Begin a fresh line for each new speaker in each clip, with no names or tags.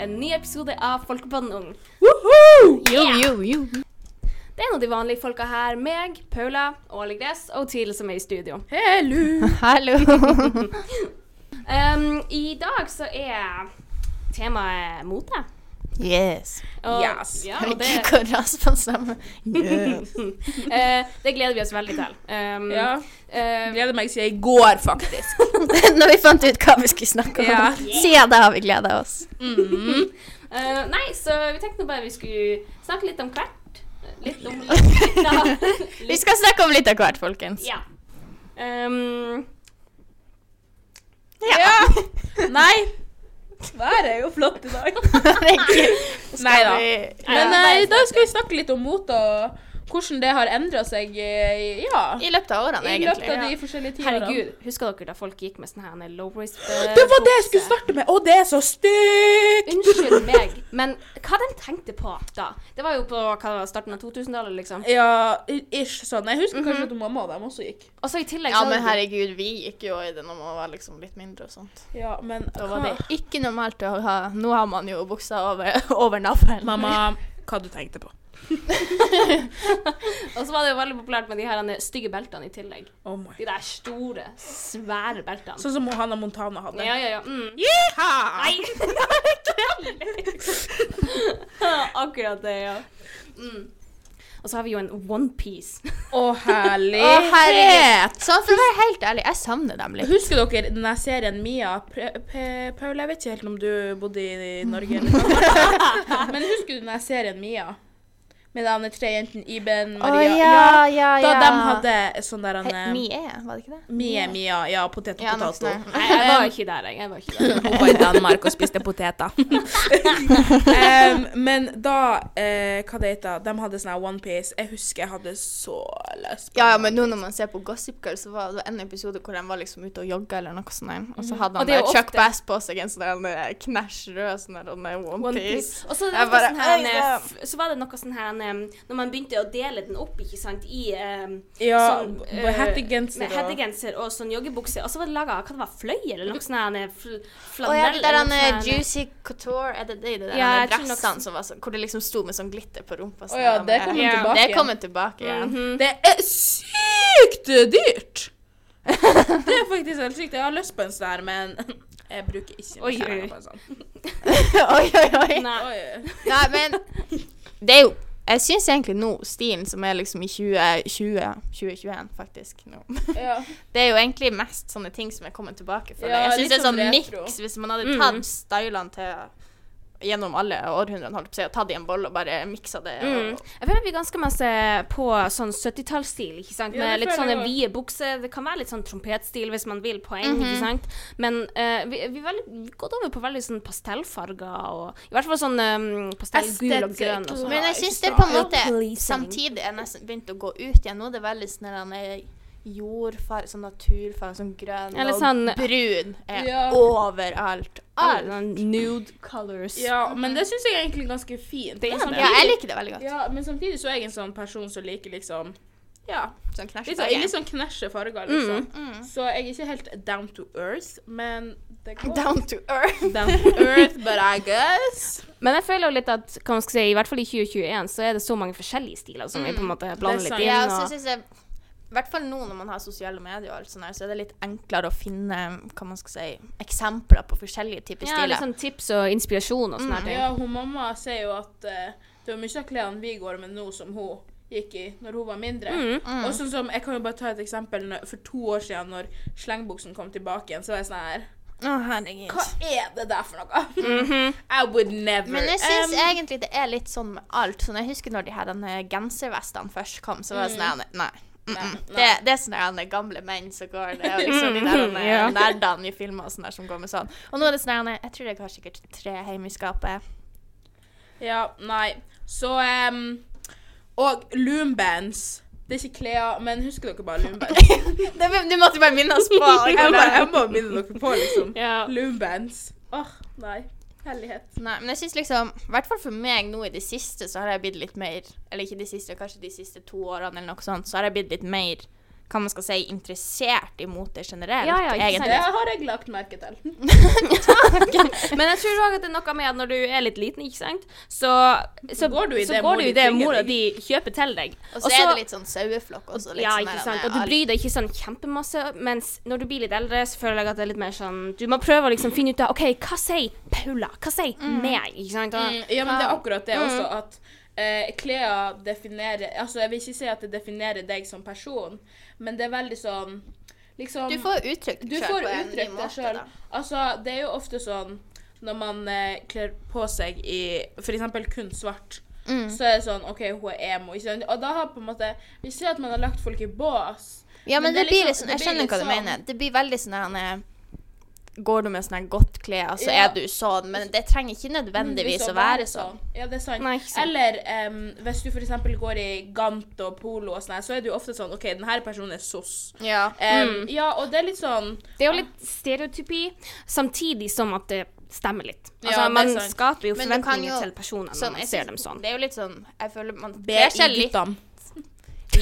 en ny episode av Folkepodden Ung.
Jo,
Yeah!
jo, jo.
Det er en av de vanlige folka her. Meg, Paula, Ole Gress og Tile som er i studio.
Hallo.
Um, I dag så er temaet mote.
Yes.
Og,
Yes.
Ja, og det,
Herregud, hvor raskt man sammen. Yes.
eh, det gleder vi oss veldig til. Um,
Ja.
eh,
Mm. Gleder meg til i går, faktisk.
Når vi fant ut hva vi skulle snakke om.
Ja.
Siden da har vi gleda oss.
eh, nei, så vi tenkte nå bare vi skulle snakke litt om hvert. Litt om litt, litt,
Vi skal snakke om litt av hvert, folkens.
Ja. Um,
Nei. Været er jo flott i dag.
Herregud.
Nei da.
Vi-
Men
Ja, det
eh, i
er
dag skal vi snakke litt om mot og hvordan det har endra seg eh, ja,
I løpet av årene,
i
egentlig.
løpet av de forskjellige tidene.
herregud, husker dere da folk gikk med sånne her low-risk eh,
Det var det
bukser?
jeg skulle starte med! Å, det er så stygt!
Unnskyld meg, men hva de tenkte på da? Det var jo på hva, det var, starten av 2000-tallet, liksom.
Ja, ish sånn. Jeg husker kanskje at mamma og dem også gikk.
Og så i tillegg
Ja,
så
men herregud, vi gikk jo i det når man var liksom litt mindre og sånt.
Ja, men
Da var det ikke normalt å ha Nå har man jo buksa over, over navlen.
Mamma, hva du tenkte på?
Og så var det jo veldig populært med de her denne stygge beltene i tillegg.
Oh my.
De der store, svære beltene.
Sånn som Hanna Montana hadde.
ja, ja, ja. Mm.
Yeeha!
Nei! Akkurat det, ja. Mm. Og så har vi jo en onepiece.
Å, herlig.
Å, herlighet! Sånn, for å være helt ærlig, jeg savner dem litt.
Husker dere den der serien Mia Pre- Pe- Paula, jeg vet ikke helt om du bodde i Norge eller Danmark. Men husker du den der serien Mia? Med de tre jentene Iben, Maria
ja,
Da de hadde sånn der han, eh,
Hei, Mie, var det ikke det?
Mie, Mia, ja, potet og
Ja, noe
potato.
sånt.
Nei, jeg var ikke der, jeg. jeg var ikke der.
Hun var i Danmark og spiste poteter. um, men da eh, Hva det heter De hadde sånn her One Piece Jeg husker jeg hadde så lyst på
Ja, ja,
det.
men nå når man ser på Gossip Girl, så var det en episode hvor de var liksom ute og jogga eller noe sånt. der. Og så
Mhm. Og
hadde han
det er jo
der Chuck
ofte-
Bass på seg en sånn der, en, eh, knæsj rød sånn der en, eh, One Piece.
Og så,
Jeg
var
bare,
det sånn her,
«Oi,
eh,
ja.»
f- så var det noe sånn her eh, Når man begynte å dele den opp, ikke sant, i eh,
ja,
sånn, eh,
b- Hettegenser
med
og
hettegenser og sånn joggebukse. Og så var det laga hva det var, fløyer eller noe sånn her, eh, fl
Og ja,
flanell
det der
eller
han
noe sånn
eh,
her, eh,
Juicy Couture Er det det, det der
Ja,
han
jeg tror nok-
dressene som var sånn Hvor det liksom sto med sånn glitter på rumpa. sånn
Å ja,
der,
det
men,
kommer
eh,
Ja.
tilbake
Det
igjen.
kommer tilbake igjen.
mhm.
Det er sykt dyrt! Det er faktisk helt sykt. Jeg har lyst på en sånn her, men jeg bruker ikke
Oi,
mye
oi.
penger på en sånn.
Mm. oi, oi, oi. Nei.
Nei.
men det er jo Jeg syns egentlig nå stilen som er liksom i 2020 2021, faktisk. nå.
Ja.
Det er jo egentlig mest sånne ting som er kommet tilbake. For
Ja,
meg. jeg syns
litt
det er
sånn
sånn
retro.
miks hvis man hadde
Mm.
tatt stylene til gjennom alle århundrene holdt på å si, og tatt i en boll og bare miksa det.
Mm.
Og, sånn.
Jeg føler at vi er ganske masse på sånn 70-tallsstil, ikke sant.
Ja,
Med
det
litt
føler
sånne
jeg
vide bukser. Det kan være litt sånn trompetstil hvis man vil, poeng,
Mhm.
ikke sant. Men eh, vi, vi er veldig, vi har gått over på veldig sånn pastellfarger og I hvert fall sånn um, pastellgul og
Aesthetic
grønn og sånn.
men jeg
ikke
syns det på en
sant.
måte
Pleasing.
samtidig er nesten begynt å gå ut igjen. Nå er det veldig sånn der, nei, jordfarge, sånn naturfarge, sånn grønn
Eller
og
sånn-
brun er
Ja.
overalt.
All
Alt.
nude colors.
ja, men det syns jeg egentlig er ganske fint.
Det er
Men samtidig-
Ja, jeg liker det sånn- veldig godt.
ja, men samtidig så er jeg en sånn person som liker liksom Ja,
Sånn
litt sånn, litt
knæsjfarge.
sånn knæsje farger, liksom.
Mm.
Så jeg er ikke helt down to earth, men det går.
Down to earth.
down to earth, but I guess.
Men jeg føler jo litt at hva man skal si, i hvert fall i 2021 så er det så mange forskjellige stiler som vi på en måte blander
Det er
litt
sant.
inn.
Ja, og så
og-
synes jeg i hvert fall nå når man har sosiale medier, og alt sånt her, så er det litt enklere å finne hva man skal si, eksempler på forskjellige typer
ja,
stiler.
litt sånn tips og inspirasjon og sånne her ting.
Ja, hun mamma sier jo at eh, det var mye av klærne vi går med nå som hun gikk i når hun var mindre.
Mm.
Og sånn som, Jeg kan jo bare ta et eksempel. nå- For to år siden, når slengbuksen kom tilbake igjen, så var jeg sånn her
Å, herregud.
Hva er det der for noe? I would never.
Men jeg syns
Um,
egentlig det er litt sånn med alt. Sånn, jeg husker når de her denne genservestene først kom, så var det sånn her, Nei. mm,
Nei,
mm. Det,
nei.
det er sånne her gamle menn som går det, og liksom de der denne
Ja.
nerdene i filmer og sånn der som går med sånn. Og nå er det sånn her Jeg tror jeg har sikkert tre eh. hjemme i skapet.
Ja, nei. Så um, Og loombands. Det er ikke klær, men husker dere bare loombands?
Det, du måtte bare minne oss på
jeg, må,
Alexander.
jeg må minne dere på, liksom.
Ja.
Loombands. Åh, nei. Hellighet.
Nei, men jeg synes liksom, i hvert fall for meg nå i det siste, så har jeg blitt litt mer Eller ikke de siste, kanskje de siste to årene eller noe sånt, så har jeg blitt litt mer hva man skal si, interessert i mote generelt.
Ja, ja, ikke sant.
Det
egentlig.
har jeg lagt merke til.
Men jeg tror òg at det er noe med at når du er litt liten, ikke sant, så, så
Går du i
så
det mor
går du i
de
det
tvinger
mora
deg.
di kjøper til deg.
Og så er det litt sånn saueflokk også. Litt
ja,
sånn
ikke
der
sant.
med
Og du
arv.
bryr deg ikke sånn kjempemasse, mens når du blir litt eldre, så føler jeg at det er litt mer sånn Du må prøve å liksom finne ut av OK, hva sier Paula? Hva sier meg? Ikke sant? Og,
Mm, Ja, men det er akkurat det også,
mm.
at eh, klær definerer Altså, jeg vil ikke si at det definerer deg som person, men det er veldig sånn Liksom
Du får uttrykt
du
deg
får
sjøl på en ny
uttrykt deg
måte.
sjøl.
Da.
Altså, det er jo ofte sånn når man eh, kler på seg i f.eks. kun svart,
Mm.
så er det sånn OK, hun er emo. Ikke sant? Og da har på en måte Vi ser at man har lagt folk i bås.
Ja, men, det,
er
blir
liksom-
litt sånn Jeg
det blir
skjønner
litt
hva du
sånn-
mener. Det blir veldig sånn her, han er- Går du med sånn her godt klær, så
Ja.
er du sånn, men det trenger ikke nødvendigvis
Hvis
å være sånn.
Ja, det er sant.
Nei, ikke sant.
Eller em, hvis du f.eks. går i gant og polo og sånn, her, så er det jo ofte sånn OK, denne personen er sos.
Ja.
Em, Ja, og det er litt sånn
Det er jo litt stereotypi, samtidig som at det stemmer litt.
Ja,
Altså,
det er
man
sant.
skaper jo
Men du kan
forventninger
jo-
til personene når
sånn, jeg
man ser
synes-
dem sånn.
Det er jo litt sånn Jeg føler man
be
kler seg
i
litt
guttene.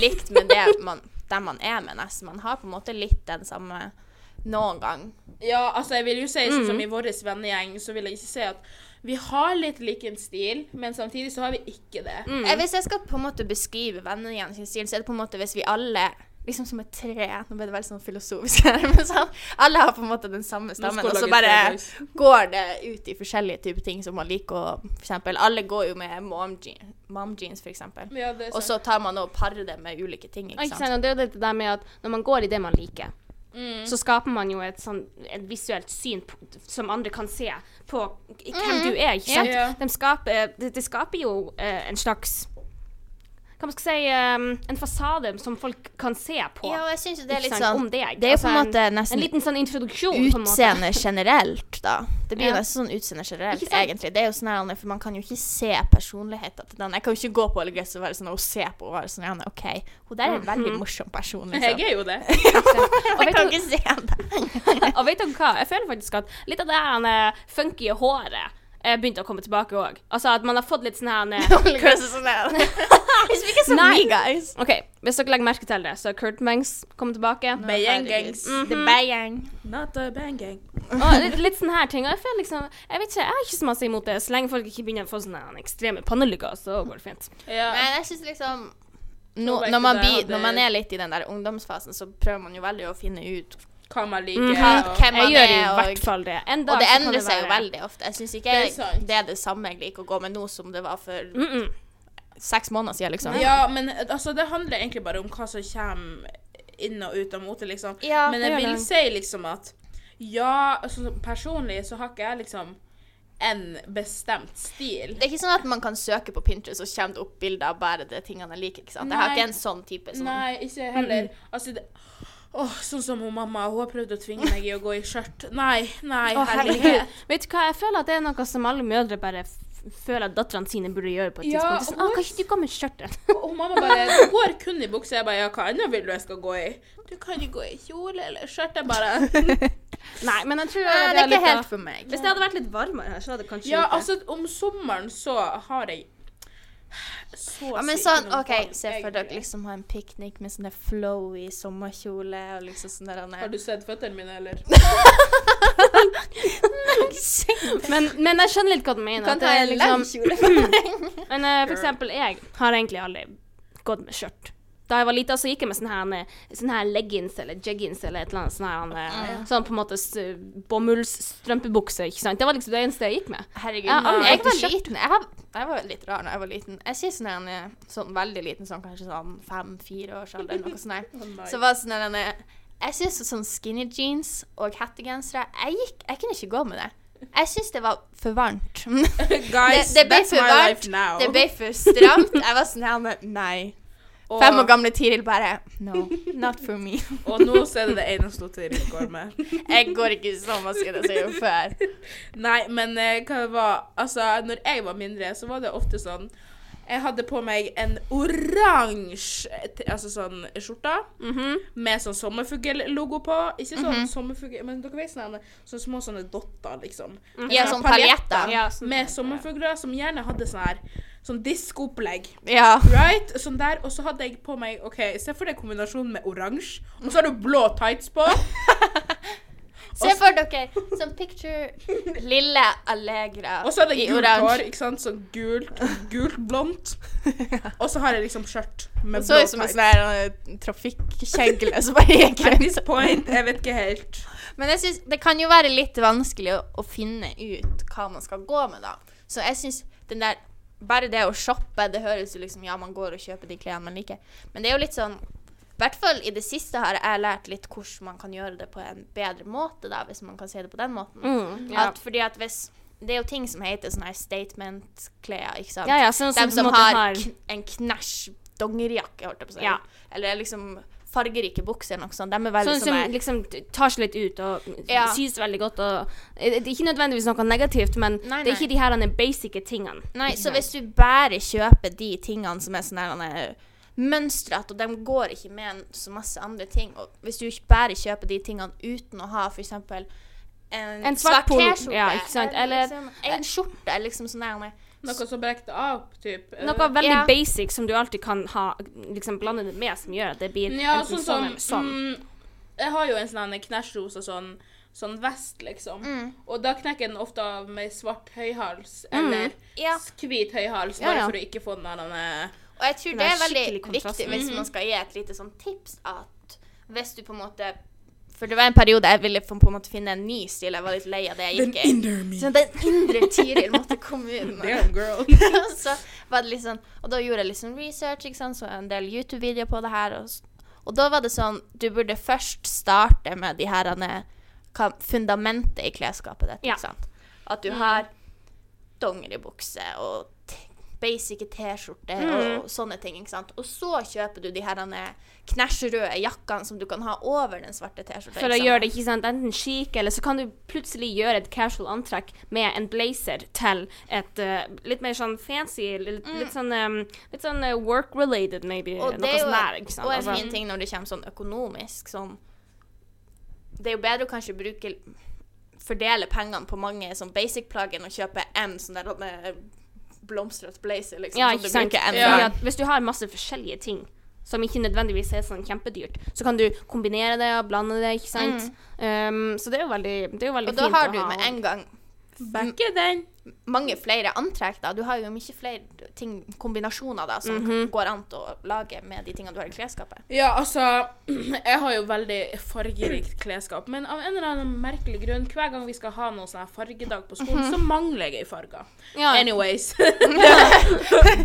likt med det man, dem man er med, nesten. Man har på en måte litt den samme noen gang.
Ja, altså jeg vil jo si sånn som i vår vennegjeng, så vil jeg ikke si at vi har litt lik en stil, men samtidig så har vi ikke det.
Mm.
Eh, Hvis jeg skal på en måte beskrive vennegjengen sin stil, så er det på en måte hvis vi alle Liksom som et tre. Nå ble det veldig sånn filosofisk her. Men sånn, alle har på en måte den samme stammen,
skal
og så
lages
bare
Starbucks.
går det ut i forskjellige typer ting som man liker. Og for eksempel, alle går jo med mom, jean, mom jeans, for eksempel.
Ja, det er
Og så tar man og parer det med ulike ting,
Ja,
ikke
Ikke
sant.
sant? Og det er jo det der med at når man går i det man liker,
Mm.
så skaper man jo et, sånn, et visuelt syn på, som andre kan se på i-
Mm.
hvem du er, ikke sant?
Ja.
De skaper, det, det skaper jo eh, en slags Hva man skal si eh, En fasade som folk kan se på.
Ja, og jeg syns jo det er
ikke
litt
sant,
sånn
om deg.
Det er jo på en
Altså,
måte nesten
En liten sånn introduksjon, på en måte.
Utseende generelt, da. Det blir jo
Ja.
nesten sånn utseende generelt,
Ikke sant?
egentlig. Det er jo sånn her, For man kan jo ikke se personligheten til den. Jeg kan jo ikke gå på alle gresset og være sånn og se på og være sånn her, OK, hun der er en veldig morsom person, liksom.
Jeg er jo det.
Og
Jeg
vet
kan
du-
ikke se det.
Og vet dere hva? Jeg føler faktisk at litt av det her eh, funky håret eh, begynte å komme tilbake òg. Altså at man har fått litt sånn her eh,
Alle gresset sånn her. Hvis vi ikke er som
Nei.
me, guys.
OK, hvis dere legger merke til det, så er Kurt Mangs kommet tilbake.
Bayang
Herregud.
gangs.
The bayang.
Not a bang gang.
Og litt, litt sånne her ting. Og jeg føler liksom Jeg vet ikke, jeg har ikke så masse imot det, så lenge folk ikke begynner å få sånne her ekstreme pannelykker, så går det fint.
Ja.
Men jeg syns liksom
Nå
nå,
vet
når, man
du det,
blir,
og det-
når man er litt i den der ungdomsfasen, så prøver man jo veldig å finne ut
Hva man liker.
Mhm.
og-
hvem
Jeg
man
gjør i
er, og
hvert fall det. En dag
Og det
så kan
endrer seg jo
være-
veldig ofte. Jeg syns ikke
Det er
jeg-
sant.
det er det samme jeg liker å gå med nå som det var for
Mm -mm.
seks måneder siden, liksom.
Ja, men eh, altså, det handler egentlig bare om hva som kommer inn og ut av mote, liksom.
Ja,
men
det
jeg
gjør
vil
det.
si liksom at ja, altså, personlig så har ikke jeg liksom en bestemt stil.
Det er ikke sånn at man kan søke på Pinterest og kommer det opp bilder av bare de tingene jeg liker. ikke sant? Jeg har
Nei.
ikke en sånn type som
Nei, ikke jeg heller. Altså, det, åh, sånn som hun mamma, hun har prøvd å tvinge meg i å gå i skjørt. Nei, nei,
Å,
herlighet.
herregud. Vet du hva, jeg føler at det er noe som alle mødre bare f- føler at datterne sine burde gjøre på et
Ja,
tidspunkt. Det er Sånn, ah,
hvor-
kan ikke du gå med skjørtet?
Og hun mamma bare Du går kun i bukse. Jeg bare Ja, hva annet vil du jeg skal gå i? Du kan jo gå i kjole eller skjørt. Jeg bare
Nei, men jeg tror
Nei, Eh, det er
litt
ikke helt
av-
for meg.
Hvis det hadde vært litt varmere her, så hadde det kanskje
Ja,
gjort det.
altså, om sommeren så har jeg så
Ja, men
sykt
sånn,
noen
ok,
valg,
Se for dere
egentlig.
liksom ha en piknik med sånne flowy sommerkjole og liksom sånn der
Har
Nei,
du sett føttene mine, eller?
men, men jeg skjønner litt hva du mener. at
Kan ta
det er liksom-
en
liksom
lang kjole på deg.
Men eh, for eksempel, jeg har egentlig aldri gått med skjørt. Da jeg var lita, så gikk jeg med sånne her, eh, sånne her leggings eller jeggings eller et eller annet sånn her
Ah,
eh, Sånn på en måte s- bomullsstrømpebukse, ikke sant. Det var liksom det eneste jeg gikk med.
Herregud,
Jeg har aldri
jeg var
egentlig kjøpt-
liten. Jeg, har, jeg var litt rar da jeg var liten. Jeg sier sånn her, en, eh, sånn veldig liten, sånn kanskje sånn fem-fire års alder, noe sånt. her.
Å, nei.
Så var det sånn her, en, eh, Jeg syns sånn skinny jeans og hettegensere jeg, gikk- jeg kunne ikke gå med det. Jeg syns det var for varmt. det,
Guys,
det ble
that's
for
my
varmt.
life now.
Det ble for stramt. Jeg var sånn her, men nei.
Og,
Fem år gamle Tiril bare No, not for me.
og nå så er det det eneste Tiril går med.
Jeg går ikke i sommerskinn, som jeg gjorde før.
Nei, men eh, hva det var Altså, når jeg var mindre, så var det ofte sånn Jeg hadde på meg en oransje eh, t- altså sånn skjorte
Mhm.
med sånn sommerfugllogo på. Ikke sånn sommerfugl... Men dere vet sånne, sånne små sånne dotter, liksom.
Mm. Ja,
Sånne
sånn paljetter.
Ja, sånn-
med sommerfugler som gjerne hadde sånn her sånn diskoopplegg.
Ja.
Right? Sånn der. Og så hadde jeg på meg OK, se for deg kombinasjonen med oransje, og så har du blå tights på.
Se for dere sånn picture lille Allegra
Og så hadde
i
jeg gult hår,
oransje.
ikke sant? Sånn gult, gult blondt. Og så har jeg liksom skjørt med
Så
blå
ut som en
tights.
sånn her, eh, trafikkjegle som bare gikk
At
rundt.
this point, jeg vet ikke helt.
Men jeg synes, det kan jo være litt vanskelig å, å finne ut hva man skal gå med, da. Så jeg syns den der Bare det å shoppe, det høres jo liksom Ja, man går og kjøper de klærne man liker, men det er jo litt sånn I hvert fall i det siste har jeg lært litt hvordan man kan gjøre det på en bedre måte, da, hvis man kan si det på den måten.
Mm, ja.
at, fordi at hvis Det er jo ting som heter sånne her statement-klær, ikke sant?
Ja, ja, sånn som
De
på en
som
måte
har,
har-
kn- en knæsj dongerijakke, holdt jeg på å si.
Ja.
Eller liksom fargerike bukser eller noe sånt. De er veldig
Sånn som
sånn
liksom tar seg litt ut og
Ja.
syns veldig godt og eh, Det er ikke nødvendigvis noe negativt, men
Nei,
det er ikke
nei.
de her denne basic tingene.
Nei, så hvis du bare kjøper de tingene som er sånn her eh, mønstret, og de går ikke med en så masse andre ting, og hvis du ikke bare kjøper de tingene uten å ha f.eks. En,
En svart
svart
pol-
T-skjorte,
ja, ikke sant, eller-
liksom, en skjorte, eller liksom sånn her med
Noe som brekte av, typ. eh,
Noe veldig
Øh, Ja.
basic som du alltid kan ha, liksom blande det med, som gjør at det blir
Ja,
enten
sånn
sånn,
som
eller sånn.
mm, Jeg har jo en sånn her knæsjrosa sånn, sånn vest, liksom. Og da knekker jeg den ofte av med svart høyhals eller
Ja.
s- hvit høyhals,
Ja,
bare
ja.
for å ikke få den der denne-
Og jeg tror
Den
det
er
er veldig
skikkelig kontrast. Mhm.
viktig hvis man skal gi et lite sånn tips at hvis du på en måte For det var en periode jeg ville på en måte finne en ny stil. Jeg var litt lei av det jeg gikk i.
me.
Sånn, den indre Tiril måtte komme ut. nå.
Damn, girl.
Og så var det liksom, og da gjorde jeg litt sånn research, ikke sant? så en del YouTube-videoer på det her. Og, s- og da var det sånn, du burde først starte med de her eh, hva- fundamentet i klesskapet ditt.
Ja. Mm.
Ikke sant? At du har dongeribukse og t- basic T-skjorte
Mm.
og sånne ting. ikke sant? Og så kjøper du de her eh, knæsjrøde jakkene som du kan ha over den svarte T-skjorta.
For å gjøre det ikke sant, enten chic, eller så kan du plutselig gjøre et casual antrekk med en blazer til et eh, litt mer sånn fancy, litt, litt sånn, em, litt sånn eh, work-related, maybe.
Mm. Og det
noe
er jo
sånn der, ikke sant.
og en
Altså,
fin ting når det kommer sånn økonomisk, sånn Det er jo bedre å kanskje bruke Fordele pengene på mange sånn basic-plagg enn å kjøpe en sånn der med blomstrete blazer, liksom.
ja,
som
ikke
du
sant.
bruker en
Fordi
gang.
at hvis du har masse forskjellige ting som ikke nødvendigvis er sånn kjempedyrt, så kan du kombinere det og blande det, ikke sant. Em, så det er jo veldig, det er jo veldig
Mm. Og da
fint å ha.
har du med en gang
Backer den.
mange flere antrekk, da. Du har jo mye flere ting, kombinasjoner, da, som
Mhm.
går an å lage med de tingene du har i klesskapet.
Ja, altså Jeg har jo veldig fargerikt klesskap, men av en eller annen merkelig grunn, hver gang vi skal ha noen sånn her fargedag på skolen, så mangler jeg ei farge.
Ja.
Anyways.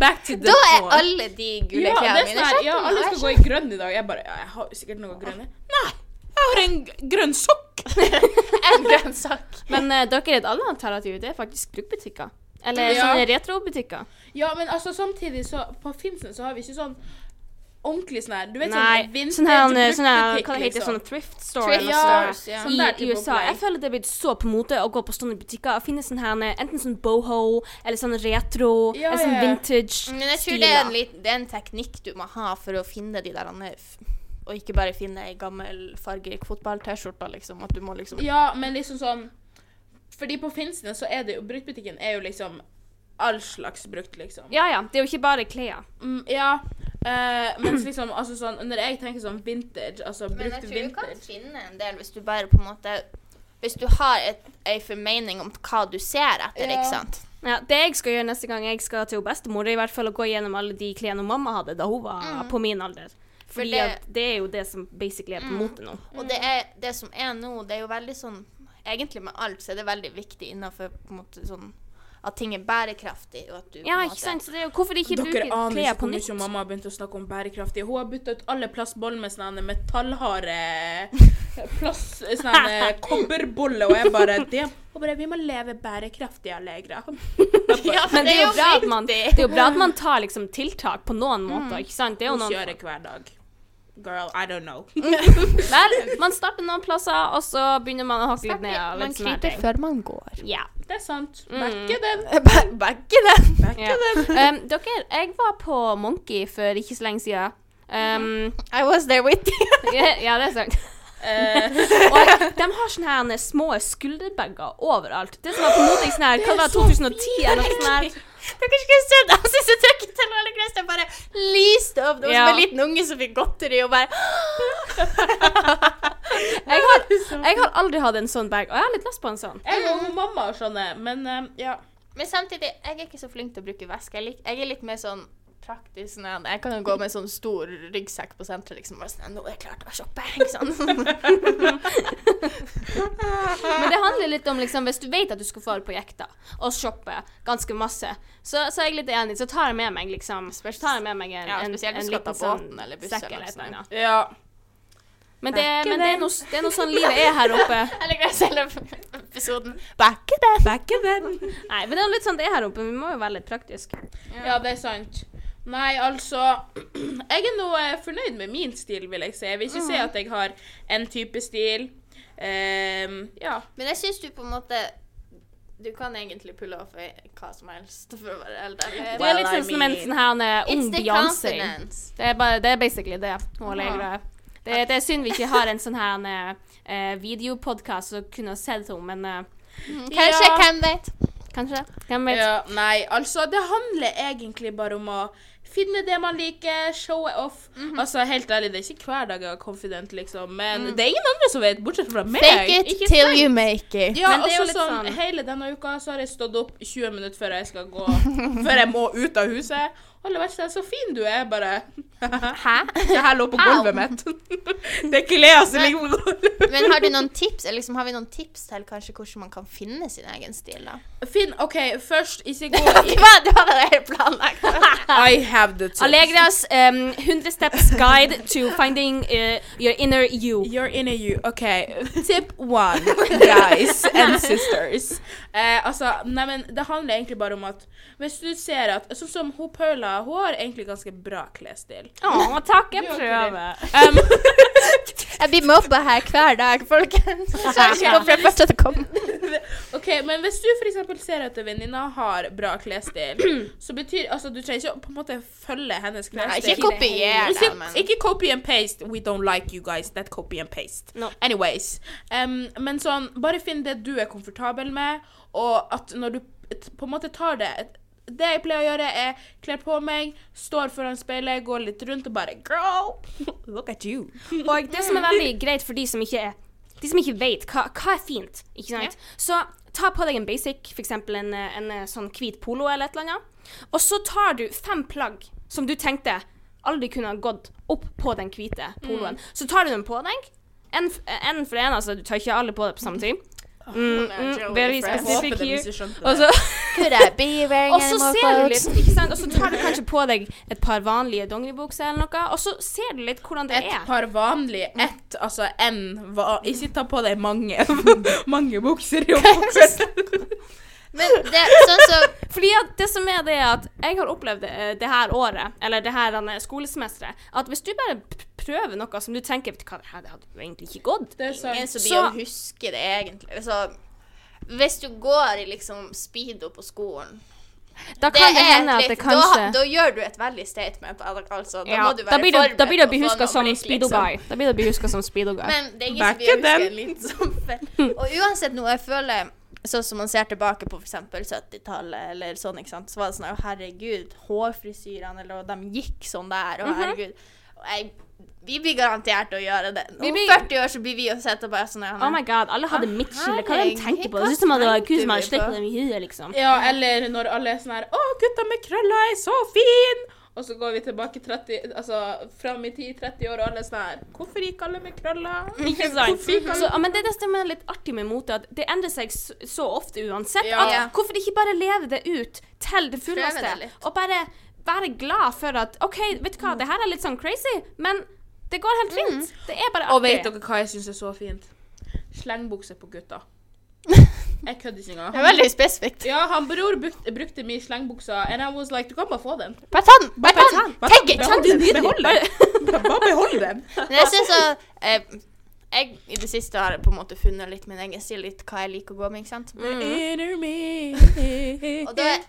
Back to the
Da er
point.
alle de gule
ja, det
klærne
er
mine
sånn her, ja, alle skal gå i grønn i dag. Jeg bare ja, Jeg har jo sikkert noe grønn i. Nei! Jeg har en g- grønn sokk!
En grønn sak.
Men eh, dere, et annet alternativ det er faktisk bruktbutikker. Eller
Ja.
sånne retrobutikker.
Ja, men altså samtidig så På Finnsnes så har vi ikke sånn ordentlig sånn her Du vet
Nei,
sånn
sånn her, sånn her,
vintage
hva det
bruktbutikk,
heter
liksom.
sånn thrift store
Thrift
eller noe
stores,
sånt
ja.
Sånn der
i
type
USA.
opplegg.
Jeg føler det er blitt så på mote å gå på sånne butikker og finne sånn her, enten sånn boho eller sånn retro
Ja,
eller sånn
ja, ja.
vintage
Men Mm, jeg tror det er, en liten, det er en teknikk du må ha for å finne de der andre f- Og ikke bare finne ei gammel fargerik fotball-T-skjorte, liksom. At du må liksom
Ja, men liksom sånn Fordi på Finnsnes så er det jo Bruktbutikken er jo liksom all slags brukt, liksom.
Ja ja, det er jo ikke bare klær.
Mm, ja. eh, mens liksom, altså sånn Når jeg tenker sånn vintage, altså
Men
brukt
jeg tror du kan
vintage
finne en del hvis du bare på en måte Hvis du har et, ei formening om hva du ser etter,
Ja.
ikke sant.
Ja, det jeg skal gjøre neste gang jeg skal til bestemor, er i hvert fall å gå gjennom alle de klærne mamma hadde da hun var på min alder. Fordi
Mm. det- Mm.
at det er jo det som basically er på mote nå.
Og det, er, det som er nå, det er jo veldig sånn Egentlig med alt så er det veldig viktig innenfor på en måte sånn at ting er bærekraftig, og at du på en
Ja,
måte-
ikke sant? Så det er jo, hvorfor ikke
Dere
bruke
aner
klær
ikke
på
hvor
nytt?
mye mamma har begynt å snakke om bærekraftig. Hun har bytta ut alle plastboller med sånne metallharde plast, sånne kobberboller, og jeg bare det. Hun bare Vi må leve bærekraftig, Allegra.
Ja,
Men det er jo Mm. bra at man,
viktig.
det er jo bra at man tar liksom tiltak på noen måter, ikke sant? Det er jo
Hun
noen,
kjører hver dag. Girl, I don't know.
Mm.
vel, man starter noen plasser, og så begynner man å hakke litt ned. og
Man
litt sånne
kryper
ting.
før man går.
Ja.
Det er sant.
Mm.
Backe den.
Begge den.
ja. Um, dere, jeg var på Monkey for ikke så lenge siden. Um,
I was there with you.
ja, det er sant.
Eh,
Og de har sånne her små skulderbager overalt. Det som var på mote i sånn her, hva var det, 2010 eller noe sånt her.
Dere skulle sett Jeg syns jeg trykket til alle kristne bare lyste opp. Det var som
Ja.
en liten unge som fikk godteri og bare
Jeg har, jeg har aldri hatt en sånn bag, og jeg har litt lyst på en sånn.
Jeg og hun mamma og sånne, men eh, ja.
Men samtidig, jeg er ikke så flink til å bruke veske. Jeg, lik, jeg er litt mer sånn praktisk. Sånn, at jeg kan jo gå med sånn stor ryggsekk på senteret liksom, bare sånn Nå er jeg klar til å shoppe. Ikke sant?
Men det handler litt om liksom, hvis du vet at du skal fare på jekta og shoppe ganske masse, så, så er jeg litt enig, så tar jeg med meg liksom tar jeg med meg en,
Ja,
en,
spesielt
en
hvis du skal
liten
ta
sånn
båten eller bussen
sekk
eller sånn.
eller
noe
et eller
sånt.
annet.
ja.
Men det, men det er noe det er noe sånn livet er her oppe.
Jeg liker selv episoden. Back it up.
Nei, men det er litt sånn det er her oppe. Vi må jo være litt praktiske.
ja, det er sant. Nei, altså Jeg er nå eh, fornøyd med min stil, vil jeg si. Jeg vil ikke
Mm.
si at jeg har en type stil. Ehm, ja.
Men jeg syns du på en måte Du kan egentlig pulle off i hva som helst. For å være eldre.
Det er litt sånn som en sånn her en ung
It's the
Beyoncé.
confidence.
Det er, bare, det er basically det. hun legger det. Det, det er synd vi ikke har en sånn her uh, videopodkast som kunne ha sett henne, men eh,
Kanskje,
Ja.
hvem vet?
kanskje. Hvem vet?
ja. Nei, altså, det handler egentlig bare om å finne det man liker, showe off.
Mhm.
Altså, helt ærlig, det er ikke hver dag jeg er confident, liksom, men det er ingen andre som vet, bortsett fra meg.
Mm. Fake it
Ikke
till
sant?
you make it.
Ja,
Men
og
det er jo
så
litt
sånn,
sånn-
hele denne uka så har jeg stått opp 20 minutter før jeg skal gå, før jeg må ut av huset. Og alle verste er så fin du er, bare.
altså.
Hæ?
Det her lå på
Au.
gulvet mitt. Det er ikke Lea som ligger på gulvet.
Men har, du noen tips, eller liksom, har vi noen tips til kanskje hvordan man kan finne sin egen stil? da?
Finn, OK, først ikke gå i
Det var, det var det jeg planlagt.
I have the tips.
Alegrias um, 100 steps guide to finding eh, your inner you.
You're in a you. OK. Tip one, guys and sisters. Eh, altså, nei, men det handler egentlig bare om at hvis du ser at Sånn som hun Paula, hun har egentlig ganske bra klesstil.
Å, takk, jeg
Du har
prøver.
Um,
Jeg blir mobba her hver dag, folkens. Så jeg ikke kommer først til å komme.
Ok, men hvis du for eksempel ser at en venninne har bra klesstil, så betyr altså du trenger ikke å på en måte følge hennes klesstil.
Ikke kopier det,
Ikke-
men
ikke copy and paste. We don't like you guys that copy and paste.
No.
Anyways. em, men sånn, bare finn det du er komfortabel med, og at når du t- på en måte tar det Det jeg pleier å gjøre, er kler på meg, står foran speilet, går litt rundt og bare Girl, look at you.
Og det som er veldig greit for de som ikke er De som ikke vet hva, hva er fint, ikke sant? Så ta på deg en basic, f.eks. En, eh, en eh, sånn hvit polo eller et eller annet. Og så tar du fem plagg som du tenkte aldri kunne ha gått opp på den hvite poloen. Så tar du dem på deg. En, f- en for en, altså. Du tar ikke alle på deg på samme tid. Mm, mm, very
Jeg
håper
specific
de
here.
ikke skjønte
Og
det.
så
Could I be wearing
og så
any more
ser du
clothes?
litt, ikke sant? Og så tar du kanskje på deg et par vanlige dongeribukser eller noe, og så ser du litt hvordan det
Et
er.
par vanlige, ett, altså en va Ikke ta på deg mange mange bukser. i hodet.
Men det, sånn så,
Fordi at det som er det er at jeg har opplevd det, det her året, eller det her denne skolesemesteret, at hvis du bare p- prøver noe som du tenker Vet du hva, det her det hadde jo egentlig ikke gått.
det er sånn.
ingen
sant.
som
Så-
blir å huske det, egentlig. Så, hvis du går i liksom speedo på skolen
Da kan det,
er
hende
et
at det
litt-
kanskje
Da, da gjør du et veldig statement. al- Altså, da
ja,
må du være
da blir du, da blir du å
forberedt
bli
på å få
huska
noen
som
blikk,
speedo
liksom.
guy. Da blir du å bli huska som speedo guy.
Men det er ingen
Back
som vil huske
in them.
en liten sommerfest. Og uansett noe jeg føler Sånn som man ser tilbake på f.eks. 70-tallet, eller sånn, ikke sant? så var det sånn «Å, Herregud, hårfrisyrene, eller og De gikk sånn der,
Mhm.
og herregud. Og jeg, vi blir garantert å gjøre det.
Vi
Om
blir-
40 år så blir vi å sette bare sånn her,
Oh my god, alle hadde
Ah,
midtskille. Hva de
herregud,
tenker på?
hva
Det ser ut som at det var
tenkte
kun som hadde
vi på?
slitt dem i huet, liksom.
Ja, eller når alle er sånn her 'Å, gutta med krøller er så fin!' Og så går vi tilbake 30, altså fram i 10-30 år, og alle er sånn her 'Hvorfor gikk alle med krøller?'
Ikke sant?
Hvorfor gikk alle
Så, ja, men det er det som er litt artig med mote, at det endrer seg så, så ofte uansett.
Ja.
Ja.
At hvorfor ikke bare leve det ut til det fulleste?
Prøve det litt. Mm.
Og bare være glad for at OK, vet du hva, det her er litt sånn crazy, men det går helt fint. Det er bare
Og vet
artig.
dere hva jeg syns er så fint? Slengbukse på gutta. Jeg kødder ikke engang.
Det er veldig spesifikt.
Ja, han bror brukte, brukte min slengbukse, and I was like 'Du kan bare få den'.
Bare ta den! Bare ta den!
Bare ta
Take
den.
it!
Behold den. Behold den. Bare behold den.
Men jeg synes så eh, Jeg i det siste har på en måte funnet litt min egen stil, litt hva jeg liker å gå med, ikke sant?
Mm.
Inner me.
Og da er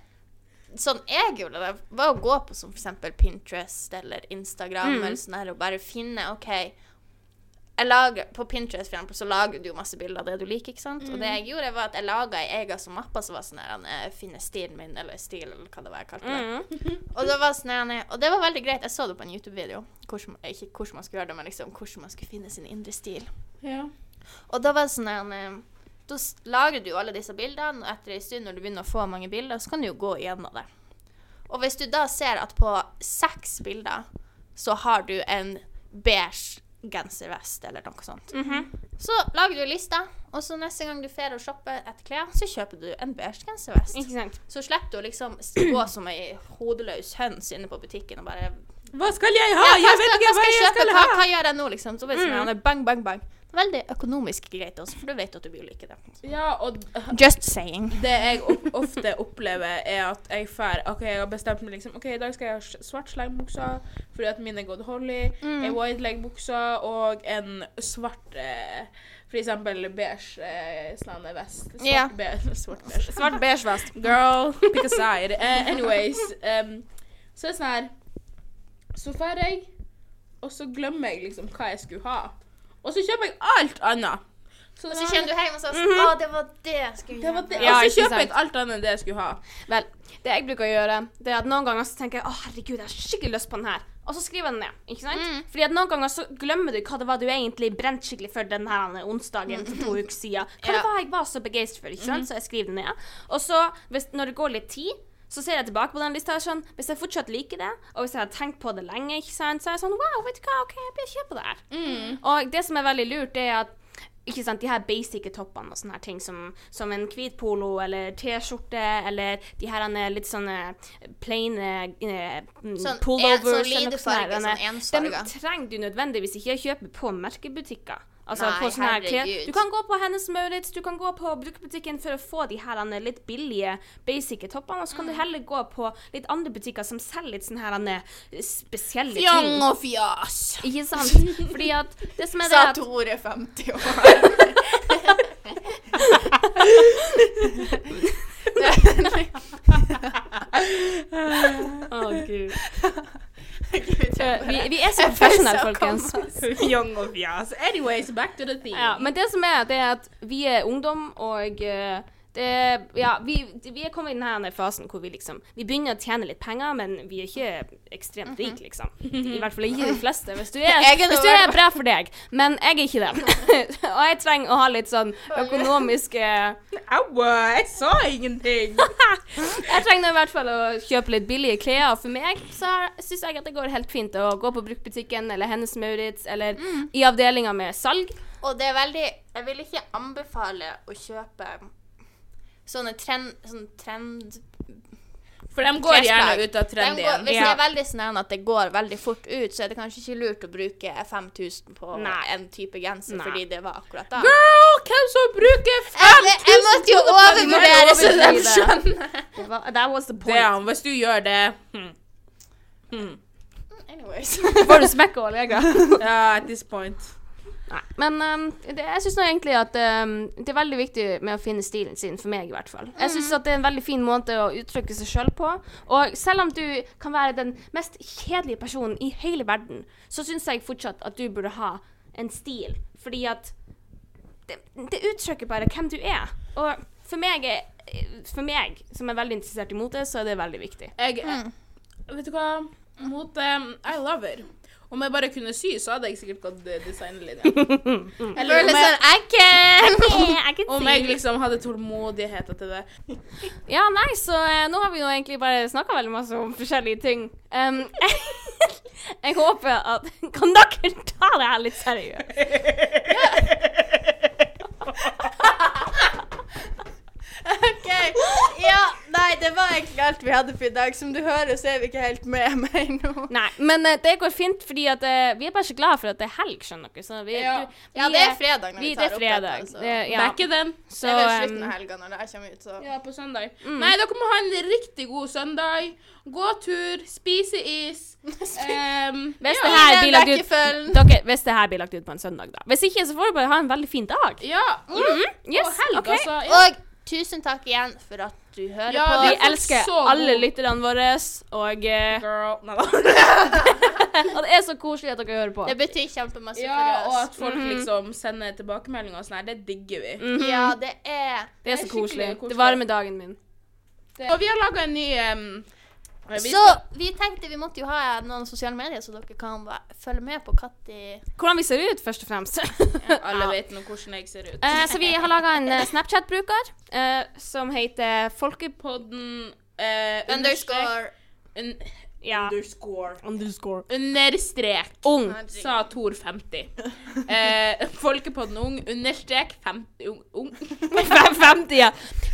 Sånn jeg gjorde det, var å gå på som for eksempel Pinterest eller Instagram eller sånn her, og bare finne OK, jeg jeg lager, På Pinterest for eksempel, så lager du jo masse bilder av det du liker. ikke sant? Og det jeg gjorde, var at jeg laga ei ega som mappa som var sånn her eh, Finne stilen min, eller stil, eller hva det var jeg kalte
Mm.
det. Og det var sånn her, og det var veldig greit. Jeg så det på en YouTube-video. Hvordan- Ikke hvordan man skulle gjøre det, men liksom hvordan man skulle finne sin indre stil.
Ja.
Og da var det sånn en eh, Da s- lagrer du jo alle disse bildene, og etter en stund når du begynner å få mange bilder, så kan du jo gå igjennom det. Og hvis du da ser at på seks bilder så har du en beige genservest eller noe sånt,
Mm-hmm.
så lager du en liste, og så neste gang du drar og shopper etter klær, så kjøper du en beige genservest.
Ikke sant?
Så slipper du å liksom s- gå som ei hodeløs høns inne på butikken og bare
Hva skal jeg ha?
ja, hva
jeg vet
skal,
ikke
hva
hva
skal jeg
jeg
kjøpe?
skal
Hva,
ha!
hva gjør jeg nå, liksom? Så blir det sånn, bang, bang, bang. Veldig økonomisk greit også, for du vet at du vil like det.
Ja, og
Just saying.
det jeg o- ofte opplever, er at jeg fær, ok, jeg har bestemt meg liksom, ok, i dag skal jeg ha s- svart slengbuksa, fordi at mine er gått holly, en white leg-buksa, og en svart, eh, for eksempel beige eh, slende vest. Svart
Ja.
beige, svart beige.
Svart beige vest.
Girl, pick a side. Eh, anyways, em, så er det sånn her, så fær jeg, og så glemmer jeg liksom hva jeg skulle ha. Og så kjøper jeg alt annet.
Og så kommer du hjem og så Å, det var Mhm. det jeg skulle
det var det.
Ja,
og så
ikke
kjøper jeg alt annet enn det jeg skulle ha.
Vel, det jeg bruker å gjøre, det er at noen ganger så tenker jeg å herregud, jeg har skikkelig lyst på den her. Og så skriver jeg den ned. ikke sant? Fordi at noen ganger så glemmer du hva det var du egentlig brente skikkelig for den her onsdagen for to uker siden. Hva
Ja. Mhm.
det var jeg var så begeistret for, ikke sant? så jeg skriver den ned. Og så, hvis, når det går litt tid, så ser jeg tilbake på den lista og er sånn, Hvis jeg fortsatt liker det, og hvis jeg har tenkt på det lenge, ikke sant? så er jeg sånn Wow, vet du hva, OK, jeg bør kjøpe det her.
Mm.
Og det som er veldig lurt, det er at ikke sant, de her basic toppene og sånne her ting som, som en hvit polo eller T-skjorte eller de her han er litt sånne plain
Sånn
sånn,
en-
pullovers
sånn
eller noe sånt. her.
lidefarge,
Denne-
sånn ensfarga.
Dem trenger du nødvendigvis ikke å kjøpe på merkebutikker. Altså
Nei,
på sånne her klær.
herregud.
Du kan gå på Hennes Maurits, du kan gå på brukerbutikken for å få de her han er litt billige basic toppene, og så kan
Mm.
du heller gå på litt andre butikker som selger litt sånne her han er spesielle ting.
og fjas,
Ikke sant? Fordi at det som er det at
Tore 50 år.
Å, Gud. Eh,
Gud, jeg
Vi,
bare-
vi er så
Jeg
professionelle,
føler så
folkens.
Young og fjas. Anyways, back to the theme.
Ja, men det som er, det er at vi er ungdom, og eh, det, ja, vi, vi er kommet i denne fasen hvor vi liksom Vi begynner å tjene litt penger, men vi er ikke ekstremt rike, liksom. I hvert fall ikke de fleste. Hvis du er,
Mhm. Jeg er det
hvis du
i hvert
er
fall.
bra for deg. Men jeg er ikke det. og jeg trenger å ha litt sånn økonomisk eh,
Aua, jeg sa ingenting.
Jeg trenger i hvert fall å kjøpe litt billige klær. og For meg så syns jeg at det går helt fint å gå på bruktbutikken eller Hennes Maurits eller
Mm.
i avdelinga med salg.
Og det er veldig Jeg vil ikke anbefale å kjøpe sånne trend... Sånne trend
For de går gjerne
Klesplagg.
ut av
Den
trendy
går,
igjen.
hvis
Ja.
det er veldig sånn her at det går veldig fort ut, så er det kanskje ikke lurt å bruke 5000 på
Nei.
en type genser,
Nei.
fordi det var akkurat da.
Girl, hvem som bruker
Jeg, jeg
5000
måtte jo overvurdere, så de skjønner.
Det var- That was the point.
Damn, hvis du gjør det hmm. Hmm.
Anyways.
Får du smekk og leger?
Ja, at this point.
Nei. Men ehm, det, jeg syns egentlig at ehm, det er veldig viktig med å finne stilen sin, for meg i hvert fall. Jeg
Mm.
syns at det er en veldig fin måte å uttrykke seg sjøl på. Og selv om du kan være den mest kjedelige personen i hele verden, så syns jeg fortsatt at du burde ha en stil. Fordi at det, det uttrykker bare hvem du er. Og for meg, er- for meg, som er veldig interessert i mote, så er det veldig viktig.
Jeg, Vet du hva? Mot um, I love it. Om jeg bare kunne sy, så hadde jeg sikkert gått eh, designerlinja. Eller om jeg,
I can!
om jeg liksom hadde tålmodighet til det.
Ja, nei, så eh, nå har vi jo egentlig bare snakka veldig masse om forskjellige ting. Um, jeg, håper at Kan dere ta det her litt seriøst?
eh, OK. Ja, nei, det var egentlig alt vi hadde for i dag. Som du hører, så er vi ikke helt med meg nå.
Nei, men eh, det går fint, fordi at eh, vi er bare så glad for at det er helg, skjønner dere. Så vi,
Ja.
du, vi
Ja, det er fredag når vi,
vi, det
tar
er
opp dette.
fredag.
Altså.
Det,
Det,
ja.
Back again.
Så
er vel slutten av
um,
helga når det her kommer ut, så
Ja, på søndag. Nei, dere må ha en riktig god søndag. Gå tur, spise is. Um,
hvis,
Ja,
det her
det er
blir lagt ut,
rekkefølgen.
ehm, dere, hvis det her blir lagt ut på en søndag, da. Hvis ikke, så får du bare ha en veldig fin dag.
ja.
Mhm, Yes,
Og helg,
ok.
altså. Ja.
Og Tusen takk igjen for at du hører
Ja,
på.
Vi
det er
elsker
så god.
alle lytterne våre, og, eh,
Girl. Nei da.
og det er så koselig at dere hører på.
Det betyr kjempemasse
Ja,
for
og
oss.
at folk liksom sender tilbakemeldinger og sånn her, det digger vi.
Mhm.
Mm. Ja, det
Det
er
er
Det
så
er skikkelig
koselig.
koselig.
Det varmer dagen min.
Og vi har laga en ny ehm, em, vi
Så
skal-
vi tenkte vi måtte jo ha noen sosiale medier, så dere kan va- følge med på Katti.
Hvordan vi ser ut, først og fremst.
Alle vet nå hvordan jeg ser ut.
Eh, så vi har laga en eh, Snapchat-bruker eh, som heter Folkepod...
Podden eh,
Underscore
un-
Ja.
Underscore.
Underscore.
Understrek.
Ung.
Sa Tor 50. Eh, Folkepodden ung understrek 50 ung, ung.
550, ja.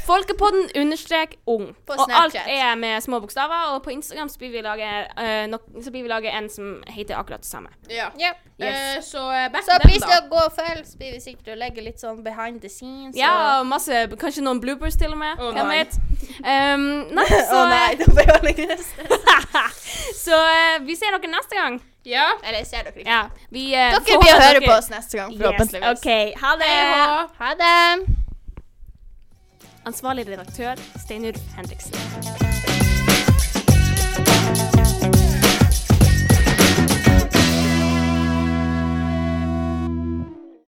Folkepodden understrek ung.
På
og alt
Snapchat.
er med små bokstaver. Og på Instagram så blir vi lage, eh, nok, så blir vi lage en som heter akkurat det samme.
Ja.
Ja.
Eh, så eh, back
Så
to them,
please
da.
da, gå og følg, så blir vi sikkert å legge litt sånn behind the scenes.
Ja, og masse, kanskje noen bloopers til og med.
Å,
Hvem
nei.
vet? Um, nei,
og-
så,
Å nei, det ble jo lenge neste.
så eh, vi ser dere neste gang.
Ja.
Eller ser dere ikke.
Ja, vi, eh,
Dere
får
blir å
håpe
høre
dere-
på oss neste gang, forhåpentligvis.
Yes, OK. Ha det.
Hei, hå.
Ha det.
Ansvarlig redaktør Steinulf Henriksen.